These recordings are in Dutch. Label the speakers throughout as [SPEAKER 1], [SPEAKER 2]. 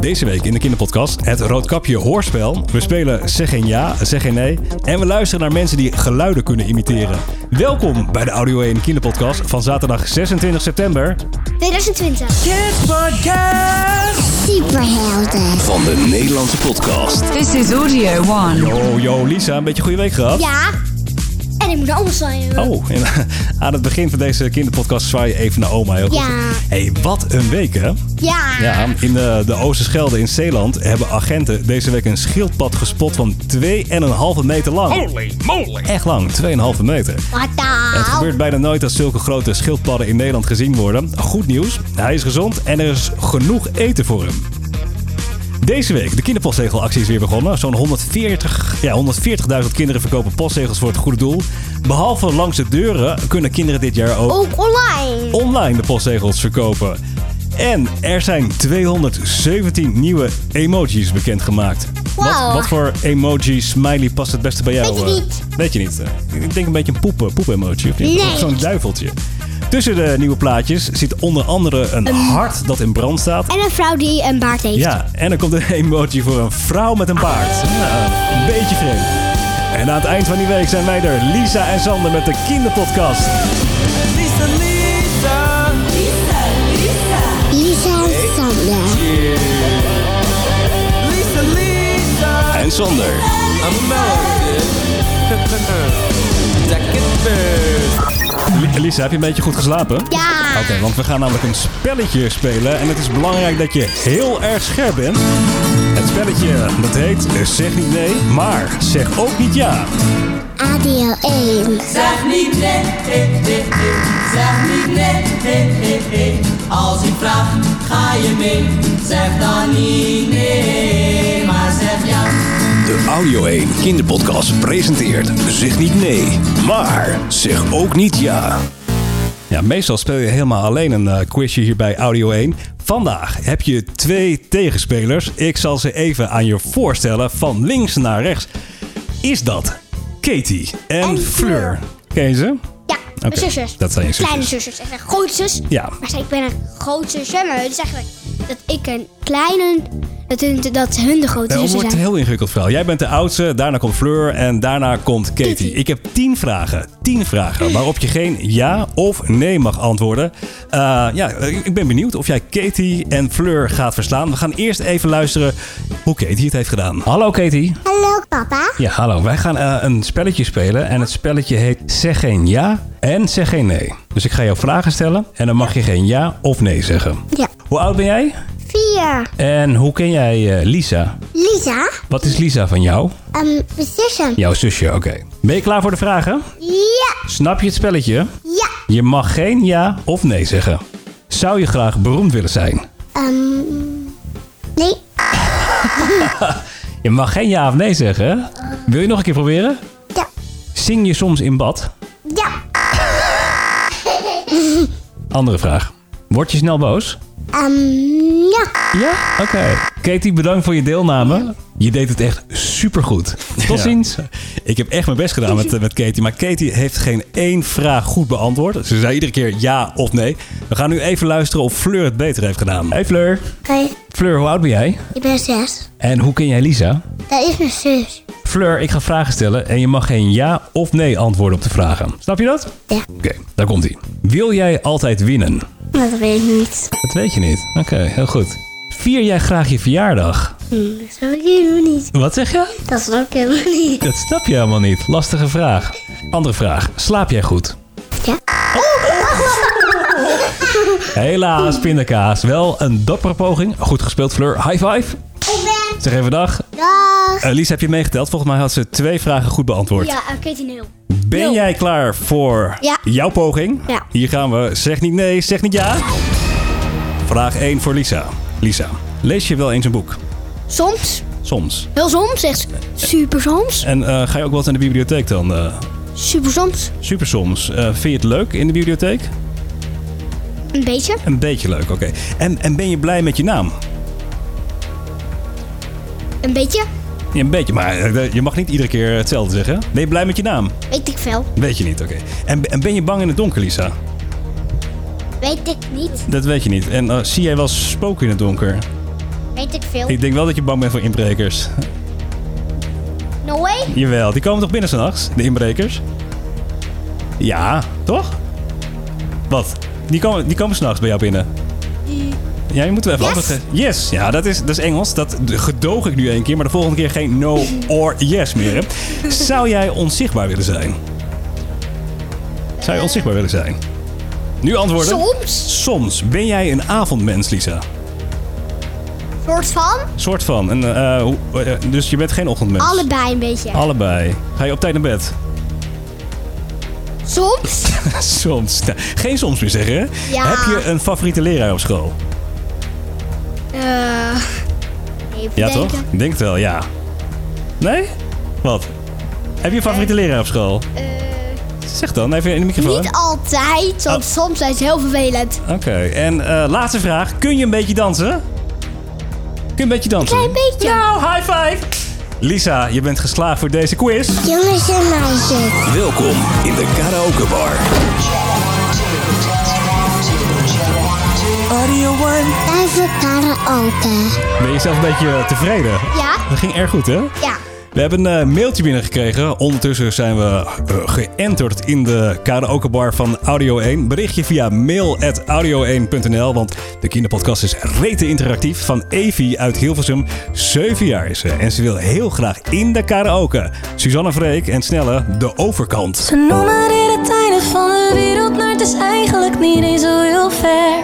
[SPEAKER 1] Deze week in de kinderpodcast het Roodkapje Hoorspel. We spelen Zeg geen ja, zeg geen nee. En we luisteren naar mensen die geluiden kunnen imiteren. Welkom bij de Audio 1 Kinderpodcast van zaterdag 26 september.
[SPEAKER 2] 2020.
[SPEAKER 3] Kids Podcast.
[SPEAKER 2] Superhelden.
[SPEAKER 4] van de Nederlandse podcast.
[SPEAKER 3] This is Audio One.
[SPEAKER 1] Yo, yo, Lisa, een beetje goede week gehad?
[SPEAKER 2] Ja. En ik moet de ommels hebben.
[SPEAKER 1] Oh, en aan het begin van deze kinderpodcast zwaai je even naar oma. Heel goed.
[SPEAKER 2] Ja.
[SPEAKER 1] hey, wat een week hè?
[SPEAKER 2] Ja.
[SPEAKER 1] Ja, in de, de Oosterschelde in Zeeland hebben agenten deze week een schildpad gespot van 2,5 meter lang.
[SPEAKER 5] Oh.
[SPEAKER 1] Holy moly! Echt lang, 2,5 meter.
[SPEAKER 2] Wat
[SPEAKER 1] Het
[SPEAKER 2] nou?
[SPEAKER 1] gebeurt bijna nooit dat zulke grote schildpadden in Nederland gezien worden. Goed nieuws, hij is gezond en er is genoeg eten voor hem. Deze week, de kinderpostzegelactie is weer begonnen. Zo'n 140, ja, 140.000 kinderen verkopen postzegels voor het goede doel. Behalve langs de deuren kunnen kinderen dit jaar ook
[SPEAKER 2] Ook online.
[SPEAKER 1] online de postzegels verkopen. En er zijn 217 nieuwe emojis bekendgemaakt. Wat,
[SPEAKER 2] Wauw.
[SPEAKER 1] wat voor emoji smiley past het beste bij jou?
[SPEAKER 2] Weet je
[SPEAKER 1] eh?
[SPEAKER 2] niet.
[SPEAKER 1] Weet je niet. eh? Ik denk een beetje een poep, poep-emoji. Of niet?
[SPEAKER 2] Nee.
[SPEAKER 1] Of zo'n duiveltje. Tussen de nieuwe plaatjes zit onder andere een hart dat in brand staat.
[SPEAKER 2] En een vrouw die een baard heeft.
[SPEAKER 1] Ja, en dan komt een emoji voor een vrouw met een paard.
[SPEAKER 2] Ah.
[SPEAKER 1] Nou, een beetje vreemd. En aan het eind van die week zijn wij er, Lisa en Sander met de kinderpodcast.
[SPEAKER 3] Lisa, Lisa.
[SPEAKER 2] Lisa en Sander.
[SPEAKER 3] Lisa, Lisa.
[SPEAKER 4] En Sander.
[SPEAKER 1] Li- Lisa, heb je een beetje goed geslapen?
[SPEAKER 2] Ja.
[SPEAKER 1] Oké, want we gaan namelijk een spelletje spelen. En het is belangrijk dat je heel erg scherp bent. Het spelletje, dat heet eh, Zeg niet nee, maar zeg ook niet ja.
[SPEAKER 2] ADL 1.
[SPEAKER 6] Zeg niet nee, nee, nee, nee. zeg niet nee, nee, nee, nee. Als ik vraag, ga je mee. Zeg dan niet nee, maar zeg ja.
[SPEAKER 4] De Audio 1 Kinderpodcast presenteert Zeg niet nee, maar zeg ook niet ja.
[SPEAKER 1] Ja, meestal speel je helemaal alleen een eh, quizje hier bij Audio 1. Vandaag heb je twee tegenspelers. Ik zal ze even aan je voorstellen van links naar rechts. Is dat Katie en,
[SPEAKER 2] En
[SPEAKER 1] Fleur?
[SPEAKER 2] Fleur.
[SPEAKER 1] Ken je ze?
[SPEAKER 2] Ja. mijn
[SPEAKER 1] Oké,
[SPEAKER 2] Zusjes.
[SPEAKER 1] dat zijn je zusjes.
[SPEAKER 2] Kleine zusjes. Ik ben een grote zus.
[SPEAKER 1] Ja.
[SPEAKER 2] Maar ze- ik ben een grote zusje. Maar het is eigenlijk dat ik een kleine... Dat hun, dat hun de grote
[SPEAKER 1] Eh, Het
[SPEAKER 2] zussen
[SPEAKER 1] wordt
[SPEAKER 2] zijn.
[SPEAKER 1] een heel ingewikkeld verhaal. Jij bent de oudste, daarna komt Fleur en daarna komt Katie.
[SPEAKER 2] Katie.
[SPEAKER 1] Ik heb tien vragen. Tien vragen waarop je geen ja of nee mag antwoorden. Eh, ja, eh, ik ben benieuwd of jij Katie en Fleur gaat verslaan. We gaan eerst even luisteren hoe Katie het heeft gedaan. Hallo Katie.
[SPEAKER 2] Hallo papa.
[SPEAKER 1] Ja, hallo. Wij gaan eh, een spelletje spelen en het spelletje heet Zeg geen ja en zeg geen nee. Dus ik ga jou vragen stellen en dan mag je geen ja of nee zeggen.
[SPEAKER 2] Ja.
[SPEAKER 1] Hoe oud ben jij?
[SPEAKER 2] Vier.
[SPEAKER 1] En hoe ken jij eh, Lisa?
[SPEAKER 2] Lisa.
[SPEAKER 1] Wat is Lisa van jou?
[SPEAKER 2] Um, zussen.
[SPEAKER 1] Jouw zusje, oké. Ben je klaar voor de vragen?
[SPEAKER 2] Ja.
[SPEAKER 1] Snap je het spelletje?
[SPEAKER 2] Ja.
[SPEAKER 1] Je mag geen ja of nee zeggen. Zou je graag beroemd willen zijn?
[SPEAKER 2] Ehm, nee.
[SPEAKER 1] Je mag geen ja of nee zeggen. hè? Wil je nog een keer proberen?
[SPEAKER 2] Ja.
[SPEAKER 1] Zing je soms in bad?
[SPEAKER 2] Ja.
[SPEAKER 1] Andere vraag. Word je snel boos?
[SPEAKER 2] Um, ja.
[SPEAKER 1] Ja? Oké. Katie, bedankt voor je deelname. Je deed het echt supergoed. Tot ziens. Ik heb echt mijn best gedaan met, eh, met Katie. Maar Katie heeft geen één vraag goed beantwoord. Ze zei iedere keer ja of nee. We gaan nu even luisteren of Fleur het beter heeft gedaan. Hey Fleur.
[SPEAKER 2] Oké.
[SPEAKER 1] Fleur, hoe oud ben jij?
[SPEAKER 2] Ik ben zes.
[SPEAKER 1] En hoe ken jij Lisa?
[SPEAKER 2] Dat is mijn zus.
[SPEAKER 1] Fleur, ik ga vragen stellen en je mag geen ja of nee antwoorden op de vragen. Snap je dat?
[SPEAKER 2] Ja.
[SPEAKER 1] Oké, daar komt ie. Wil jij altijd winnen?
[SPEAKER 2] Dat weet ik niet.
[SPEAKER 1] Dat weet je niet. Oké, heel goed. Vier jij graag je verjaardag?
[SPEAKER 2] Dat snap ik helemaal niet.
[SPEAKER 1] Wat zeg je?
[SPEAKER 2] Dat snap ik helemaal niet.
[SPEAKER 1] Dat snap je helemaal niet. Lastige vraag. Andere vraag. Slaap jij goed?
[SPEAKER 2] Ja.
[SPEAKER 1] Helaas, pindakaas. Wel een dappere poging. Goed gespeeld, Fleur. High five.
[SPEAKER 2] Ik ben...
[SPEAKER 1] Zeg even dag.
[SPEAKER 2] Dag.
[SPEAKER 1] Eh, Lies, heb je meegeteld? Volgens mij had ze twee vragen goed beantwoord.
[SPEAKER 2] Ja, ik weet nul.
[SPEAKER 1] Ben
[SPEAKER 2] Nul.
[SPEAKER 1] jij klaar voor
[SPEAKER 2] Ja.
[SPEAKER 1] jouw poging?
[SPEAKER 2] Ja.
[SPEAKER 1] Hier gaan we. Zeg niet nee, zeg niet ja. Vraag 1 voor Lisa. Lisa, lees je wel eens een boek?
[SPEAKER 2] Soms.
[SPEAKER 1] Soms.
[SPEAKER 2] Heel soms. Echt super soms.
[SPEAKER 1] En eh, ga je ook wel eens naar de bibliotheek dan? eh?
[SPEAKER 2] Super soms.
[SPEAKER 1] super soms. Eh, vind je het leuk in de bibliotheek?
[SPEAKER 2] Een beetje.
[SPEAKER 1] Een beetje leuk, oké. En, en ben je blij met je naam?
[SPEAKER 2] Een beetje.
[SPEAKER 1] Ja, een beetje, maar eh, je mag niet iedere keer hetzelfde zeggen. Ben je blij met je naam?
[SPEAKER 2] Weet ik veel.
[SPEAKER 1] Weet je niet, oké. En, en ben je bang in het donker, Lisa?
[SPEAKER 2] Weet ik niet.
[SPEAKER 1] Dat weet je niet. En eh, zie jij wel spoken in het donker?
[SPEAKER 2] Weet ik veel.
[SPEAKER 1] Ik denk wel dat je bang bent voor inbrekers.
[SPEAKER 2] No way?
[SPEAKER 1] Jawel, die komen toch binnen s'nachts, de inbrekers? Ja, toch? Wat? Die komen, die komen s'nachts bij jou binnen. Ja, je moet wel even
[SPEAKER 2] Yes.
[SPEAKER 1] antwoord geven. Yes, ja, dat is, dat is Engels. Dat gedoog ik nu één keer, maar de volgende keer geen no or yes meer. hè? Zou jij onzichtbaar willen zijn? Zou je onzichtbaar willen zijn? Nu antwoorden.
[SPEAKER 2] Soms.
[SPEAKER 1] Soms. Ben jij een avondmens, Lisa?
[SPEAKER 2] Soort van?
[SPEAKER 1] Soort van. En, eh, hoe- eh, dus je bent geen ochtendmens?
[SPEAKER 2] Allebei een beetje.
[SPEAKER 1] Oh. Allebei. Ga je op tijd naar bed?
[SPEAKER 2] Soms?
[SPEAKER 1] Soms. Nou, geen soms meer zeggen, hè?
[SPEAKER 2] Ja.
[SPEAKER 1] Heb je een favoriete leraar op school?
[SPEAKER 2] Eh even
[SPEAKER 1] Ja,
[SPEAKER 2] denken.
[SPEAKER 1] toch? Ik Denk het wel, ja. Nee? Wat? Heb je een favoriete leraar op school?
[SPEAKER 2] Eh,
[SPEAKER 1] Zeg dan, even in de microfoon.
[SPEAKER 2] niet altijd, want
[SPEAKER 1] Oh.
[SPEAKER 2] soms zijn ze heel vervelend.
[SPEAKER 1] Oké, en eh, laatste vraag. Kun je een beetje dansen? Kun je een beetje dansen?
[SPEAKER 2] Klein beetje.
[SPEAKER 1] Nou, high five! Lisa, je bent geslaagd voor deze quiz.
[SPEAKER 2] Jongens en meisjes.
[SPEAKER 4] Welkom in de Karaoke Bar.
[SPEAKER 3] Audio One.
[SPEAKER 2] Even karaoke.
[SPEAKER 1] Ben je zelf een beetje tevreden?
[SPEAKER 2] Ja?
[SPEAKER 1] Dat ging erg goed, hè?
[SPEAKER 2] Ja.
[SPEAKER 1] We hebben een eh, mailtje binnengekregen. Ondertussen zijn we eh, geënterd in de karaokebar van Audio 1. Berichtje via mail at audio1.nl. Want de kinderpodcast is rete interactief. Van Evie uit Hilversum. Zeven jaar is ze. En ze wil heel graag in de karaoke. Suzanne Vreek en Snelle, de overkant.
[SPEAKER 7] Ze noemen het het einde van de wereld, maar het is eigenlijk niet eens zo heel ver.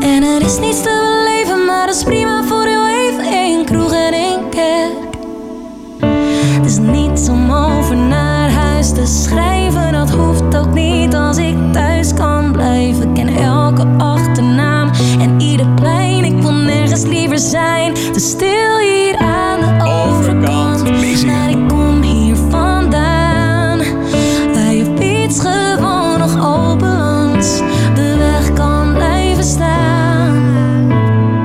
[SPEAKER 7] En er is niets te beleven, maar dat is prima voor heel even. één kroeg en één kerk. Het is niets om over naar huis te schrijven, dat hoeft ook niet als ik thuis kan blijven. Ik ken elke achternaam en ieder plein, ik wil nergens liever zijn. Te stil hier aan de overkant. Maar ik kom hier vandaan. Bij je fiets gewoon nog open langs. De weg kan blijven staan.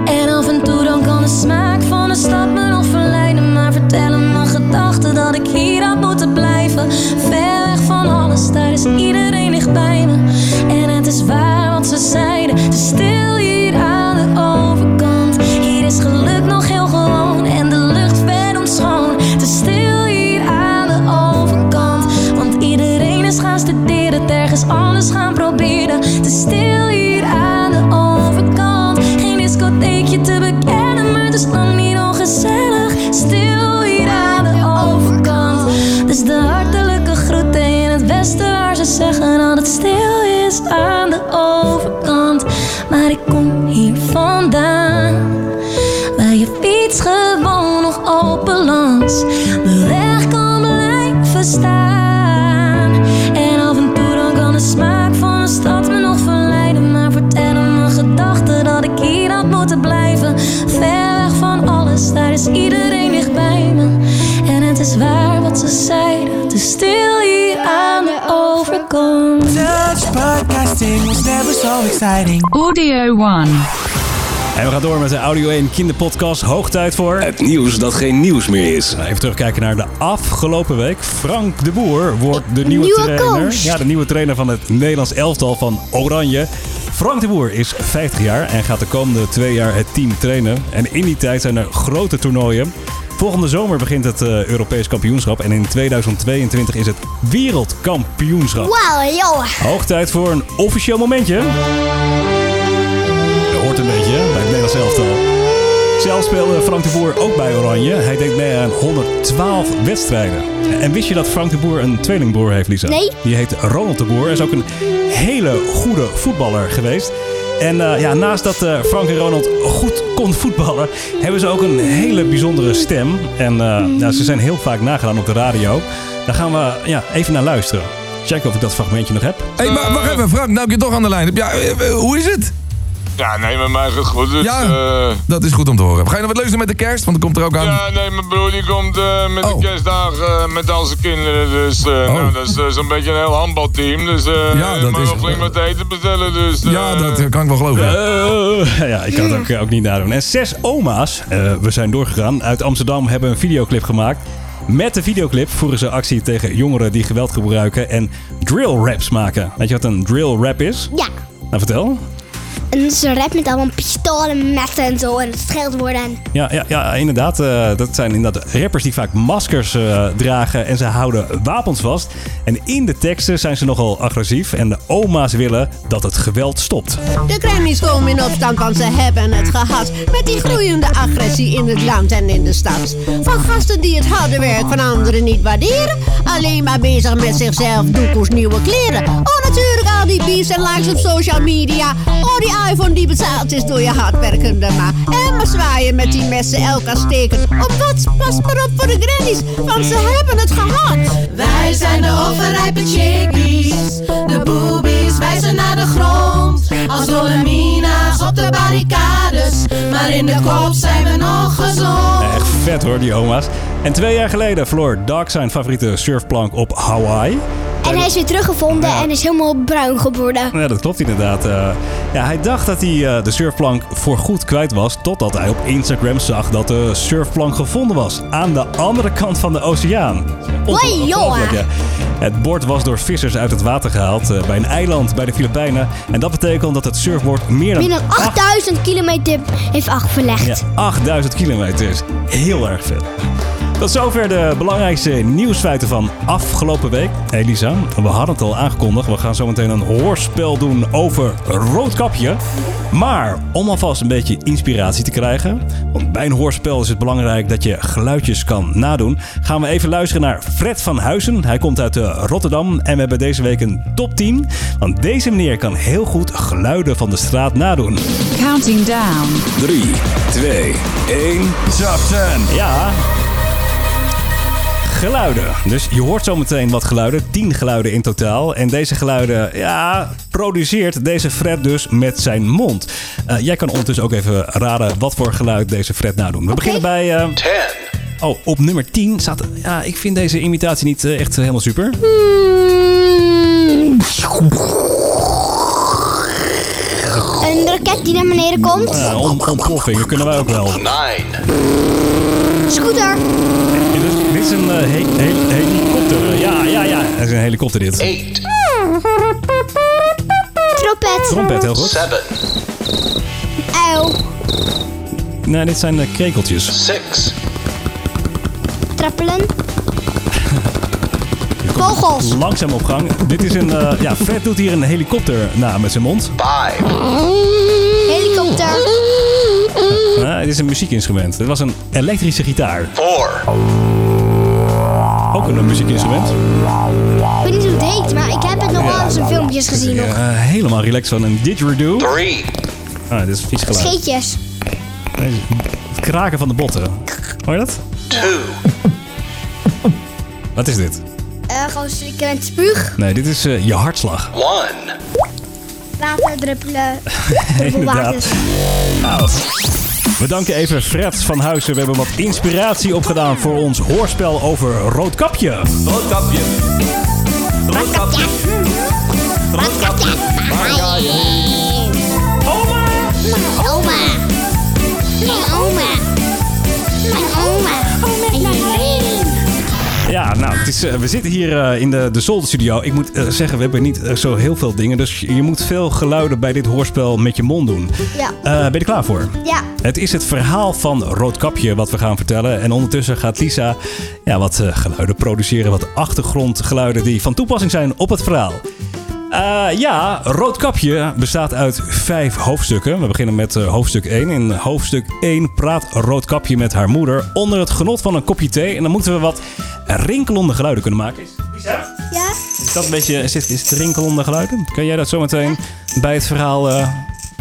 [SPEAKER 7] En af en toe dan kan de smaak van de stad me nog verleiden. Maar vertellen mijn gedachten dat ik hier had moeten blijven. Ver weg van alles, daar is iedereen dicht bij me. En het is waar wat ze zeiden. Het is stil hier aan de overkant. Hier is geluk nog heel gewoon. En de lucht verdomd schoon. Het is stil hier aan de overkant. Want iedereen is gaan studeren. Ergens anders gaan proberen. Het is stil hier aan de overkant. Geen discotheekje te bekennen, maar het is lang niet ongezellig. Stil hier aan de overkant. Dus de hartelijke groeten in het westen waar ze zeggen dat het stil is aan de overkant. Maar ik kom hier vandaan. Waar je fiets gewoon nog open langs. De weg kan blijven staan. En af en toe dan kan de smaak van de stad me nog verleiden. Maar vertellen mijn gedachten dat ik hier had moeten blijven. Ver weg van alles, daar is iedereen dicht bij me. En het is waar wat ze zeiden. Het is stil hier aan de overkant.
[SPEAKER 3] Dutch podcasting was never so exciting.
[SPEAKER 8] Audio One.
[SPEAKER 1] En we gaan door met de Audio 1 kinderpodcast. Hoog tijd voor... Nou,
[SPEAKER 4] Het nieuws dat geen nieuws meer is.
[SPEAKER 1] Even terugkijken naar de afgelopen week. Frank de Boer wordt de nieuwe,
[SPEAKER 2] Nieuwe
[SPEAKER 1] trainer.
[SPEAKER 2] coach.
[SPEAKER 1] Ja, de nieuwe trainer van het Nederlands elftal van Oranje. Frank de Boer is 50 jaar en gaat de komende twee jaar het team trainen. En in die tijd zijn er grote toernooien. Volgende zomer begint het eh, Europees kampioenschap. En in 2022 is het wereldkampioenschap.
[SPEAKER 2] Wauw, joh.
[SPEAKER 1] Hoog tijd voor een officieel momentje. Dat hoort een beetje hè, bij het Nederlands elftal. Zelf speelde Frank de Boer ook bij Oranje. Hij deed mee aan 112 wedstrijden. En wist je dat Frank de Boer een tweelingbroer heeft, Lisa?
[SPEAKER 2] Nee.
[SPEAKER 1] Die heet Ronald de Boer. Is ook een hele goede voetballer geweest. En eh, ja, naast dat eh, Frank en Ronald goed kon voetballen, hebben ze ook een hele bijzondere stem. En eh, nou, ze zijn heel vaak nagedaan op de radio. Daar gaan we ja, even naar luisteren. Check of ik dat fragmentje nog heb.
[SPEAKER 9] Hé, maar wacht even, Frank, nou ik je toch aan de lijn hebt. Ja, eh, eh, hoe is het?
[SPEAKER 10] Ja, nee, met mij is het goed. Dus,
[SPEAKER 9] Ja.
[SPEAKER 10] eh,
[SPEAKER 9] Dat is goed om te horen. Ga je nog wat leuks doen met de kerst? Want dat komt er ook aan.
[SPEAKER 10] ja, nee, mijn broer die komt eh, met
[SPEAKER 9] Oh.
[SPEAKER 10] de kerstdagen eh, met al zijn kinderen. Dus eh, nou, dat is eh, zo'n beetje een heel handbalteam. Dus eh
[SPEAKER 9] Ja, dat
[SPEAKER 10] maar
[SPEAKER 9] is-
[SPEAKER 10] wel flink wat eten bestellen. Dus,
[SPEAKER 9] Ja,
[SPEAKER 10] eh,
[SPEAKER 9] dat eh, kan ik wel geloven. ja.
[SPEAKER 1] Eh, ja, ik kan het ook, eh, ook niet nadoen. En zes oma's, eh, we zijn doorgegaan, uit Amsterdam hebben een videoclip gemaakt. Met de videoclip voeren ze actie tegen jongeren die geweld gebruiken en drill raps maken. Weet je wat een drill rap is?
[SPEAKER 2] Ja.
[SPEAKER 1] Nou, vertel.
[SPEAKER 2] En dus een rap met allemaal pistolen, messen en zo. En scheldwoorden. En
[SPEAKER 1] Ja, ja, ja inderdaad. eh, dat zijn inderdaad rappers die vaak maskers eh, dragen en ze houden wapens vast. En in de teksten zijn ze nogal agressief en de oma's willen dat het geweld stopt.
[SPEAKER 8] De Grammys komen in opstand, want ze hebben het gehad. Met die groeiende agressie in het land en in de stad. Van gasten die het harde werk van anderen niet waarderen. Alleen maar bezig met zichzelf, doekoes, nieuwe kleren. Oh, natuurlijk al die beefs en likes op social media. Oh, die iPhone die betaald is door je hardwerkende ma. En maar zwaaien met die messen elkaar steken. Op wat? Pas maar op voor de Grammys, want ze hebben het gehad.
[SPEAKER 6] Wij zijn de overrijpe chickies, de boobies wijzen naar de grond. Als dolomina's op de barricades, maar in de kop zijn we nog gezond.
[SPEAKER 1] Echt vet hoor, die oma's. En twee jaar geleden verloor Doug zijn favoriete surfplank op Hawaii.
[SPEAKER 2] En hij is weer teruggevonden en is helemaal bruin geworden.
[SPEAKER 1] Ja, dat klopt inderdaad. Eh, ja, hij dacht dat hij eh, de surfplank voorgoed kwijt was, totdat hij op Instagram zag dat de surfplank gevonden was. Aan de andere kant van de oceaan.
[SPEAKER 2] Hoi, joh.
[SPEAKER 1] ja. Het bord was door vissers uit het water gehaald eh, bij een eiland bij de Filipijnen. En dat betekent dat het surfboard meer dan,
[SPEAKER 2] Meer dan
[SPEAKER 1] 8
[SPEAKER 2] 8000 kilometer heeft afgelegd.
[SPEAKER 1] Ah. ja, 8000 kilometer is. Heel erg vet. Tot zover de belangrijkste nieuwsfeiten van afgelopen week. Elisa, we hadden het al aangekondigd. We gaan zometeen een hoorspel doen over Roodkapje. Maar om alvast een beetje inspiratie te krijgen... want bij een hoorspel is het belangrijk dat je geluidjes kan nadoen... gaan we even luisteren naar Fred van Huizen. Hij komt uit eh, Rotterdam en we hebben deze week een top 10. Want deze meneer kan heel goed geluiden van de straat nadoen.
[SPEAKER 5] Counting down.
[SPEAKER 4] 3, 2, 1. Top 10.
[SPEAKER 1] Ja. Geluiden. Dus je hoort zometeen wat geluiden. 10 geluiden in totaal. En deze geluiden, ja, produceert deze Fred dus met zijn mond. Eh, jij kan ondertussen ook even raden wat voor geluid deze Fred nadoet. We beginnen bij... eh, oh, op nummer 10 staat... Ja, ik vind deze imitatie niet eh, echt helemaal super.
[SPEAKER 2] Mm. Een raket die naar beneden komt.
[SPEAKER 1] Nou, om, ontploffingen kunnen wij ook wel.
[SPEAKER 2] Scooter.
[SPEAKER 1] Ja, dit, is- dit is een eh, he- he- helikopter. Ja, ja, ja. Het is een helikopter dit.
[SPEAKER 2] Trompet.
[SPEAKER 1] Trompet, heel goed.
[SPEAKER 2] Uil.
[SPEAKER 1] Nee, dit zijn eh, krekeltjes.
[SPEAKER 2] Trappelen. Vogels.
[SPEAKER 1] Langzaam op gang. Dit is een. eh, ja, Fred doet hier een helikopter na met zijn mond.
[SPEAKER 2] Helikopter.
[SPEAKER 1] Eh, het is een muziekinstrument. Het was een elektrische gitaar. Ook een muziekinstrument.
[SPEAKER 2] Ik weet niet hoe het heet, maar ik heb het nog wel eens in filmpjes gezien. nog.
[SPEAKER 1] Eh, helemaal relaxed van een didgeridoo. Ah, dit is een vies geluid.
[SPEAKER 2] Scheetjes.
[SPEAKER 1] Deze- Het kraken van de botten. Hoor je dat? Wat is dit?
[SPEAKER 2] Eh, gewoon slikken en spuug.
[SPEAKER 1] Nee, dit is eh, je hartslag.
[SPEAKER 2] Water druppelen.
[SPEAKER 1] Inderdaad.
[SPEAKER 2] Water.
[SPEAKER 1] We danken even Fred van Huizen. We hebben wat inspiratie opgedaan voor ons hoorspel over Roodkapje.
[SPEAKER 11] Roodkapje. Roodkapje.
[SPEAKER 2] Roodkapje. Waar ga je Mijn oma. Mijn oma. Mijn oma. Mijn oma.
[SPEAKER 1] Ja, nou, het is, eh, we zitten hier eh, in de, de zolderstudio. Ik moet eh, zeggen, we hebben niet eh, zo heel veel dingen. Dus je moet veel geluiden bij dit hoorspel met je mond doen.
[SPEAKER 2] Ja.
[SPEAKER 1] Eh, ben je er klaar voor?
[SPEAKER 2] Ja.
[SPEAKER 1] Het is het verhaal van Roodkapje wat we gaan vertellen. En ondertussen gaat Lisa ja, wat eh, geluiden produceren. Wat achtergrondgeluiden die van toepassing zijn op het verhaal. Eh, ja, Roodkapje bestaat uit vijf hoofdstukken. We beginnen met eh, hoofdstuk 1. In hoofdstuk 1 praat Roodkapje met haar moeder onder het genot van een kopje thee. En dan moeten we wat rinkelende geluiden kunnen maken. Is,
[SPEAKER 2] Ja.
[SPEAKER 1] is dat een beetje is, dit- is het rinkelende geluiden? Kun jij dat zometeen bij het verhaal eh,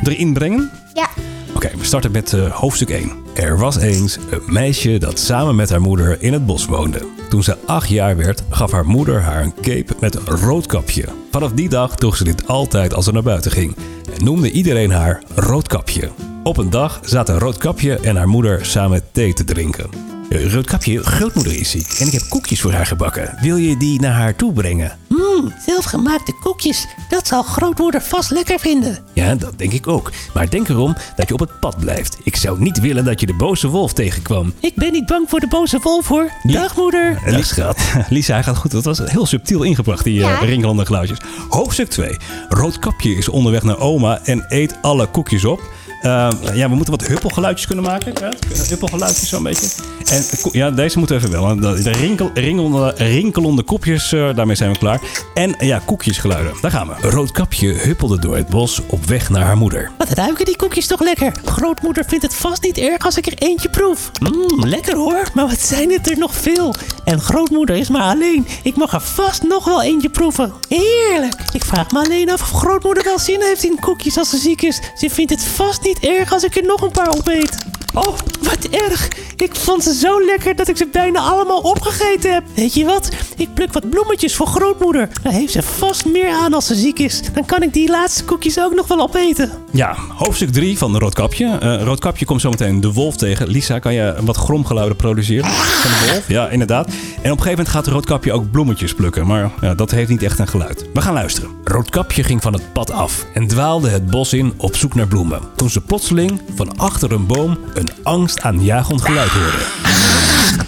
[SPEAKER 1] erin brengen?
[SPEAKER 2] Ja.
[SPEAKER 1] Oké, we starten met eh, hoofdstuk 1. Er was eens een meisje dat samen met haar moeder in het bos woonde. Toen ze acht jaar werd, gaf haar moeder haar een cape met een rood kapje. Vanaf die dag droeg ze dit altijd als ze naar buiten ging. En noemde iedereen haar Roodkapje. Op een dag zaten Roodkapje en haar moeder samen thee te drinken. Eh, Roodkapje, grootmoeder is ziek en ik heb koekjes voor haar gebakken. Wil je die naar haar toe brengen?
[SPEAKER 5] Mmm, zelfgemaakte koekjes. Dat zal grootmoeder vast lekker vinden.
[SPEAKER 1] Ja, dat denk ik ook. Maar denk erom dat je op het pad blijft. Ik zou niet willen dat je de boze wolf tegenkwam.
[SPEAKER 5] Ik ben niet bang voor de boze wolf hoor. Dag moeder.
[SPEAKER 1] Eh, Lies gaat. Lisa, hij gaat goed. Dat was heel subtiel ingebracht, die
[SPEAKER 5] Ja.
[SPEAKER 1] eh ringronde geluidjes. Hoofdstuk 2. Roodkapje is onderweg naar oma en eet alle koekjes op. Eh, ja, we moeten wat huppelgeluidjes kunnen maken. Ja, huppelgeluidjes zo'n beetje. En, ko- ja, deze moeten we even wel. De rinkel, ringelende, rinkelende kopjes, eh, daarmee zijn we klaar. En eh, ja, koekjesgeluiden. Daar gaan we. Roodkapje huppelde door het bos op weg naar haar moeder.
[SPEAKER 5] Wat ruiken die koekjes toch lekker? Grootmoeder vindt het vast niet erg als ik er eentje proef. Mmm, lekker hoor. Maar wat zijn het er nog veel? En grootmoeder is maar alleen. Ik mag er vast nog wel eentje proeven. Heerlijk. Ik vraag me alleen af of grootmoeder wel zin heeft in koekjes als ze ziek is. Ze vindt het vast niet erg als ik er nog een paar opeet. Oh, wat erg. Ik vond ze zo lekker dat ik ze bijna allemaal opgegeten heb. Weet je wat? Ik pluk wat bloemetjes voor grootmoeder. Daar heeft ze vast meer aan als ze ziek is. Dan kan ik die laatste koekjes ook nog wel opeten.
[SPEAKER 1] Ja, hoofdstuk 3 van Roodkapje. Eh, Roodkapje komt zometeen de wolf tegen. Lisa, kan je wat gromgeluiden produceren van de wolf? Ja, inderdaad. En op een gegeven moment gaat Roodkapje ook bloemetjes plukken. Maar ja, dat heeft niet echt een geluid. We gaan luisteren. Roodkapje ging van het pad af en dwaalde het bos in op zoek naar bloemen. Toen ze plotseling van achter een boom een angstaanjagend geluid hoorde.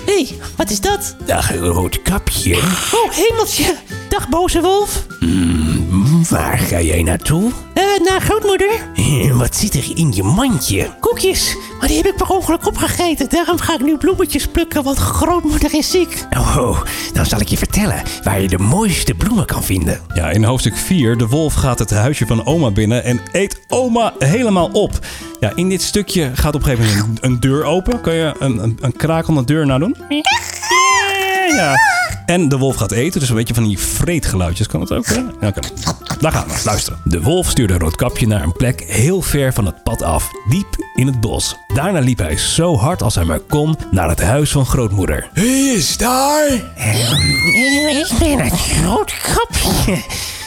[SPEAKER 5] Hé, hey, wat is dat?
[SPEAKER 1] Dag, Roodkapje.
[SPEAKER 5] Oh, hemeltje. Dag, boze wolf.
[SPEAKER 1] Hmm, waar ga jij naartoe?
[SPEAKER 5] Eh, naar grootmoeder.
[SPEAKER 1] Eh, Wat zit er in je mandje?
[SPEAKER 5] Koekjes. Maar die heb ik per ongeluk opgegeten. Daarom ga ik nu bloemetjes plukken, want grootmoeder is ziek.
[SPEAKER 1] Oh, dan zal ik je vertellen waar je de mooiste bloemen kan vinden. Ja, in hoofdstuk 4, de wolf gaat het huisje van oma binnen en eet oma helemaal op. Ja, in dit stukje gaat op een gegeven moment een, een deur open. Kun je een, een, een krakelde deur nou doen? Ja. En de wolf gaat eten, dus een beetje van die vreedgeluidjes kan het ook. Hè? Ja, oké. Daar gaan we, luisteren. De wolf stuurde Roodkapje naar een plek heel ver van het pad af, diep in het bos. Daarna liep hij zo hard als hij maar kon naar het huis van grootmoeder.
[SPEAKER 11] Wie is daar? Eh, Ik ben het roodkapje.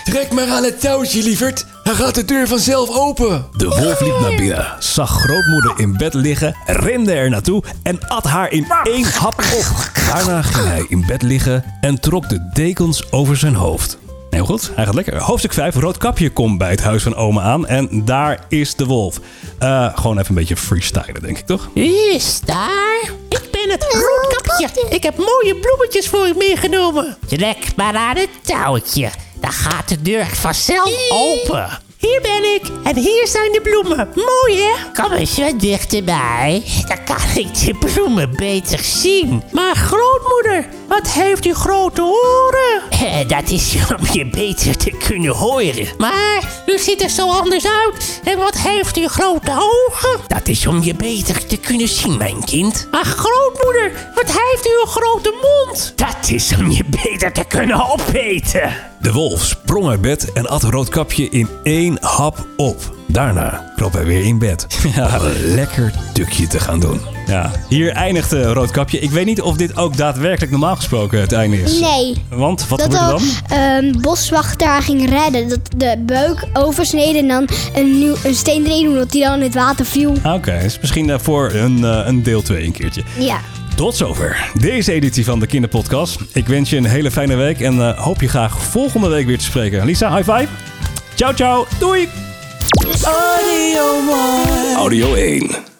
[SPEAKER 11] Trek maar aan het touwtje, lieverd. Dan gaat de deur vanzelf open.
[SPEAKER 1] De wolf liep naar binnen, zag grootmoeder in bed liggen, rende er naartoe en at haar in één hap op. Daarna ging hij in bed liggen en trok de dekens over zijn hoofd. Heel goed, hij gaat lekker. Hoofdstuk 5, Roodkapje komt bij het huis van oma aan en daar is de wolf. Eh, gewoon even een beetje freestylen, denk ik, toch?
[SPEAKER 5] Wie is daar? Ik ben het roodkapje. Ik heb mooie bloemetjes voor u meegenomen. Trek maar aan het touwtje. Dan gaat de deur vanzelf open. Hier ben ik en hier zijn de bloemen. Mooi hè? Kom eens wat dichterbij. Dan kan ik de bloemen beter zien. Maar grootmoeder, wat heeft u grote oren? dat is om je beter te kunnen horen. Maar u ziet er zo anders uit. En wat heeft u grote ogen? Dat is om je beter te kunnen zien, mijn kind. Maar grootmoeder, wat heeft u een grote mond? Dat is om je beter te kunnen opeten.
[SPEAKER 1] De wolf sprong uit bed en at Roodkapje in één hap op. Daarna kroop hij weer in bed om een lekker tukje te gaan doen. Ja, hier eindigt eh, Roodkapje. Ik weet niet of dit ook daadwerkelijk normaal gesproken het einde is.
[SPEAKER 2] Nee.
[SPEAKER 1] Want, wat
[SPEAKER 2] dat
[SPEAKER 1] gebeurt er dan?
[SPEAKER 2] een boswachter haar ging redden. Dat de beuk oversneden en dan een, nieuw, een steen erin doen, dat die dan in het water viel.
[SPEAKER 1] Ah, Oké, is misschien eh, voor een, eh, een deel 2 een keertje.
[SPEAKER 2] Ja.
[SPEAKER 1] Tot zover deze editie van de Kinderpodcast. Ik wens je een hele fijne week en eh, hoop je graag volgende week weer te spreken. Lisa, high five. Ciao, ciao. Doei.
[SPEAKER 3] Audio One.
[SPEAKER 4] Audio 1.